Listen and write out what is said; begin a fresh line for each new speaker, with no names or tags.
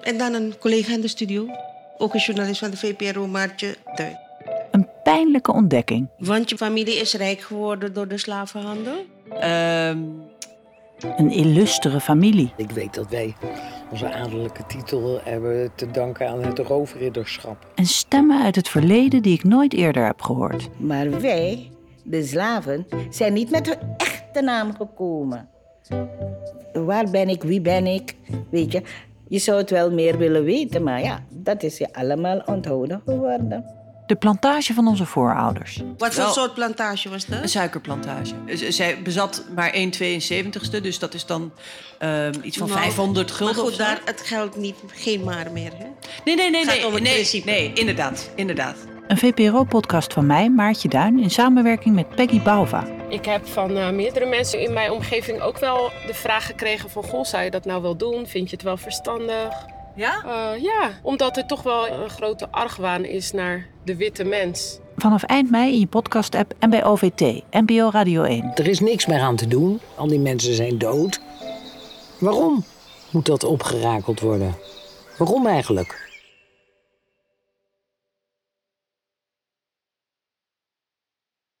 En dan een collega in de studio. Ook een journalist van de VPRO, Maartje Duin.
Een pijnlijke ontdekking.
Want je familie is rijk geworden door de slavenhandel.
Een illustere familie.
Ik weet dat wij onze adellijke titel hebben te danken aan het roofridderschap.
En stemmen uit het verleden die ik nooit eerder heb gehoord.
Maar wij, de slaven, zijn niet met hun echte naam gekomen. Waar ben ik, wie ben ik, weet je. Je zou het wel meer willen weten, maar ja, dat is je allemaal onthouden geworden.
De plantage van onze voorouders.
Wat voor
Wel-
soort plantage was
Een
dat?
suikerplantage. Z- Zij bezat maar 1,72ste, dus dat is dan ehm, iets van
Nou,
500
Maar
gulden. of
goed,
zo.
daar, het geldt niet, geen maar meer. Hè?
Nee, nee, nee.
gaat
nee,
om het
nee,
principe.
nee, inderdaad. inderdaad.
Een VPRO-podcast van mij, Maartje Duin, in samenwerking met Peggy Bouva.
Ik heb van eh, meerdere mensen in mijn omgeving ook wel de vraag gekregen van... Goh, zou je dat nou wel doen? Vind je het wel verstandig?
Ja?
Eh, ja, omdat er toch wel een grote argwaan is naar de witte mens.
Vanaf eind mei in je podcast-app en bij OVT, NPO Radio 1.
Er is niks meer aan te doen. Al die mensen zijn dood. Waarom moet dat opgerakeld worden? Waarom eigenlijk?